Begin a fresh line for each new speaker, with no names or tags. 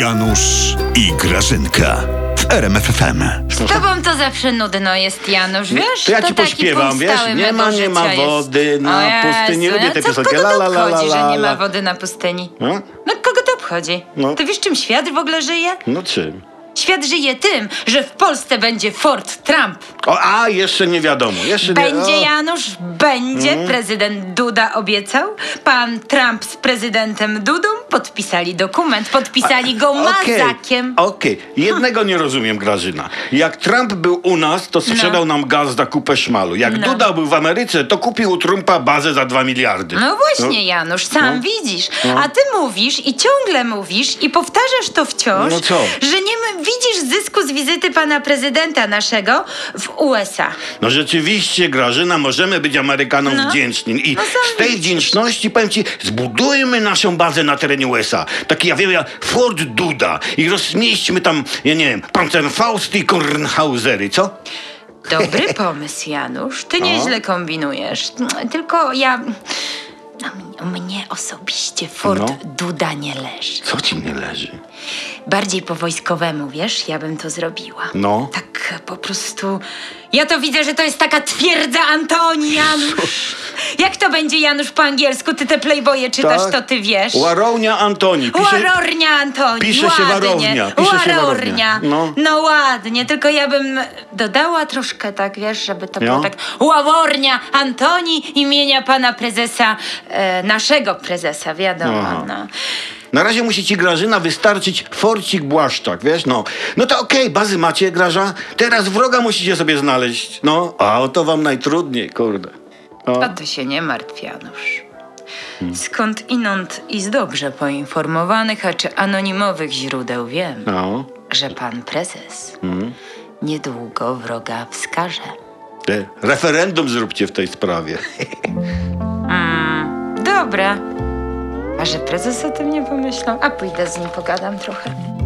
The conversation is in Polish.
Janusz i Grażynka w RMFFM.
Z tobą to zawsze nudno jest, Janusz, wiesz?
To ja
taki
ci pośpiewam, wiesz?
podstały
Nie ma,
mego
nie ma
życia jest.
wody na
O Jezu,
pustyni. Lubię
no
tę
co
piosenkę.
Kogo
La, la,
to
la,
obchodzi,
la,
że nie
la.
ma wody na pustyni?
No,
No kogo to obchodzi?
No.
Ty wiesz, czym świat w ogóle żyje?
no czym?
Świat żyje tym, że w Polsce będzie Ford Trump.
O, a, jeszcze nie wiadomo. Jeszcze
Będzie
nie, o. Mhm.
Janusz, będzie. Prezydent Duda obiecał. Pan Trump z prezydentem Dudą podpisali dokument. Podpisali go
Okej,
mazakiem.
Okej, jednego nie rozumiem, Grażyna. Jak Trump był u nas, to sprzedał nam gaz za kupę szmalu. Jak
No.
Duda był w Ameryce, to kupił u Trumpa bazę za dwa miliardy.
No właśnie, Janusz, sam
No.
widzisz. A ty mówisz i ciągle mówisz i powtarzasz to wciąż,
No co?
że nie m- widzisz zysku z wizyty pana prezydenta naszego w USA.
No rzeczywiście, Grażyna, możemy być Amerykanom
No.
wdzięczni. I
No
z tej
zajebiście.
wdzięczności, powiem ci, zbudujmy naszą bazę na terenie USA. Taki, ja wiem, jak Fort Duda. I rozmieśćmy tam, ja nie wiem, Panzerfausty i Kornhausery, co?
Dobry pomysł, Janusz.
No.
Ty nieźle kombinujesz. Tylko ja... No, m- mnie osobiście Ford
No.
Duda nie leży.
Co ci nie leży?
Bardziej po wojskowemu, wiesz, ja bym to zrobiła.
No.
Tak po prostu. Ja to widzę, że to jest taka twierdza Antoni, Janusz. Jak to będzie Janusz po angielsku? Ty te playboye czytasz,
Tak.
to ty wiesz.
Łarownia Antoni. Pisze...
Łarornia Antoni.
pisze się
ładnie.
warownia, pisze się
Łarornia.
warownia.
No.
No.
ładnie, tylko ja bym dodała troszkę tak, wiesz, żeby to było
No.
tak. Ławornia Antoni imienia pana prezesa, e, naszego prezesa, wiadomo.
Aha.
No.
Na razie musi ci Grażyna wystarczyć forcik błaszczak, wiesz, no. No to okej, bazy macie, Graża. Teraz wroga musicie sobie znaleźć. No, a o to wam najtrudniej, kurde. O.
A ty się nie martw, Janusz. Skąd inąd i z dobrze poinformowanych, a czy anonimowych źródeł wiem,
No.
że pan prezes niedługo wroga wskaże.
Ty, Referendum zróbcie w tej sprawie.
Dobra. A że prezes o tym nie pomyślał? A pójdę z nim, pogadam trochę.